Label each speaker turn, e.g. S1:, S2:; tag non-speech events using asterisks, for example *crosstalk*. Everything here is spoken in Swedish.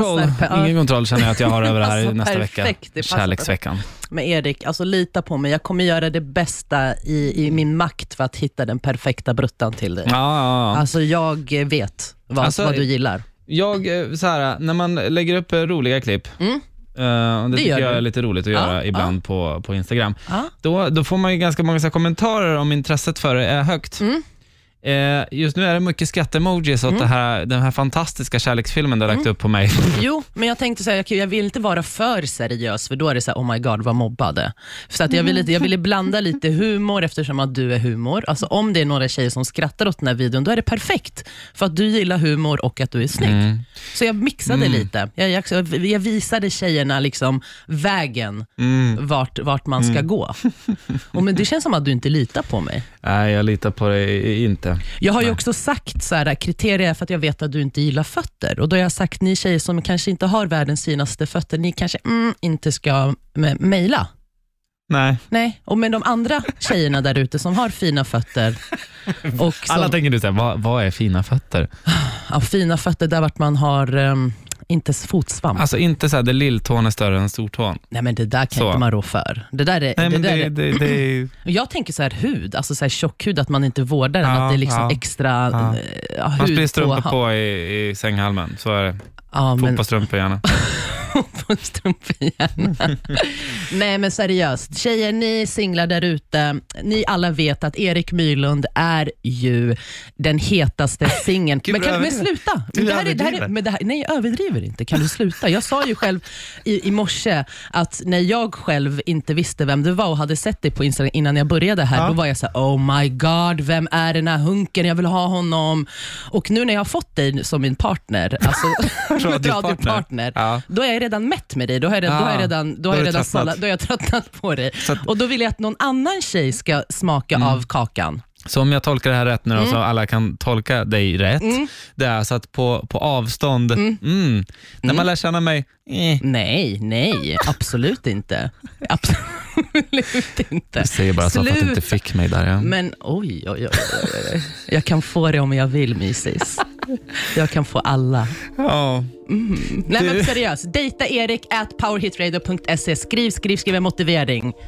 S1: kontroll,
S2: Passar per-
S1: ingen kontroll känner jag att jag har över det
S2: *laughs*
S1: här
S2: Alltså,
S1: nästa vecka.
S2: perfekt, det passar
S1: Kärleksveckan.
S2: Men Erik, alltså lita på mig. Jag kommer göra det bästa i, i min makt för att hitta den perfekta bruttan till dig.
S1: Mm. Ja, ja, ja.
S2: Alltså jag eh, vet vad,
S1: Alltså,
S2: vad du gillar.
S1: Jag, eh, så här, när man lägger upp eh, roliga klipp,
S2: Mm.
S1: eh, och det,
S2: Det
S1: tycker
S2: gör
S1: jag
S2: du.
S1: är lite roligt att göra
S2: Ja,
S1: ibland På, på Instagram,
S2: Ja.
S1: då, då får man ju ganska många så här, kommentarer om intresset för det är högt.
S2: Mm.
S1: Eh, just nu är det mycket skratt-emojis åt det här, den här fantastiska kärleksfilmen du har lagt
S2: Mm.
S1: upp på mig. *laughs*
S2: Jo, men jag tänkte säga, jag vill inte vara för seriös, för då är det så här, oh my god, vad mobbade. Så att jag, ville, jag ville blanda lite humor, eftersom att du är humor. Alltså om det är några tjejer som skrattar åt den här videon, då är det perfekt. För att du gillar humor och att du är snygg.
S1: Mm.
S2: Så jag mixade lite. Jag, jag, jag visade tjejerna liksom vägen, vart, vart man ska gå. Och men det känns som att du inte litar på mig.
S1: Nej, jag litar på dig inte.
S2: Jag har ju
S1: Nej.
S2: också sagt så här, kriterier för att jag vet att du inte gillar fötter. Och Då har jag sagt, ni tjejer som kanske inte har världens finaste fötter, ni kanske mm, inte ska me- mejla.
S1: Nej.
S2: Nej, och men de andra tjejerna där ute som har
S1: *laughs*
S2: fina fötter. Och som,
S1: Alla tänker du såhär, vad, vad är fina fötter?
S2: ja, fina fötter där vart man har ehm, inte s- fotsvamp.
S1: Alltså inte såhär, där lilltån är större än stortån.
S2: Nej men det där kan
S1: Så.
S2: inte man rå för. Det där är,
S1: Nej,
S2: det
S1: men
S2: där
S1: det,
S2: är,
S1: det, det, är-
S2: och jag tänker så här hud, alltså så här tjock hud, att man inte vårdar den,
S1: Ja,
S2: att det är liksom
S1: ja.
S2: extra
S1: Ja.
S2: eh, ja, hud
S1: man sprider strumpor
S2: hand.
S1: på i, i sänghalmen. Så är det.
S2: Ja, men-
S1: Fotbollsstrumpor
S2: *laughs*
S1: gärna.
S2: på en
S1: *laughs*
S2: strumpehjärna. Nej men seriöst, tjejer ni singlar där ute, ni alla vet att Erik Myrlund är ju den hetaste singeln.
S1: Gud,
S2: Men,
S1: vad
S2: kan, men
S1: överdriver.
S2: sluta!
S1: Du
S2: Det här är, det här är,
S1: överdriver.
S2: men det här, nej jag överdriver inte, kan du sluta? Jag sa ju själv i, i morse att när jag själv inte visste vem du var och hade sett dig på Instagram innan jag började här,
S1: Ja.
S2: då var jag så här, oh my god, vem är den här hunken? Jag vill ha honom. Och nu när jag har fått dig som min partner, alltså
S1: *laughs*
S2: *laughs*
S1: Radiopartner.
S2: radiopartner,
S1: Ja.
S2: då är jag redan mätt med dig. Då har jag redan, då har jag
S1: Ah,
S2: redan,
S1: då
S2: då har
S1: har
S2: jag
S1: du
S2: redan,
S1: tröttnat.
S2: sålla, då har jag tröttnat på dig.
S1: Så att- Mm.
S2: Och då vill jag att någon annan tjej ska smaka av kakan.
S1: Så om jag tolkar det här rätt
S2: Mm.
S1: nu, då, så alla kan tolka dig rätt. Det är så att på, på avstånd, mm. när man lär känna mig, eh.
S2: Mm. Nej, nej, absolut inte. Absolut inte.
S1: Jag säger bara så för att du inte fick mig där. Ja.
S2: Men oj, oj, oj, oj, oj. Jag kan få det om jag vill, mysis. Jag kan få alla.
S1: Ja. Du-
S2: Nej, men seriöst. Dejta Erik at powerhitradio.se. Skriv, skriv, skriv en motivering.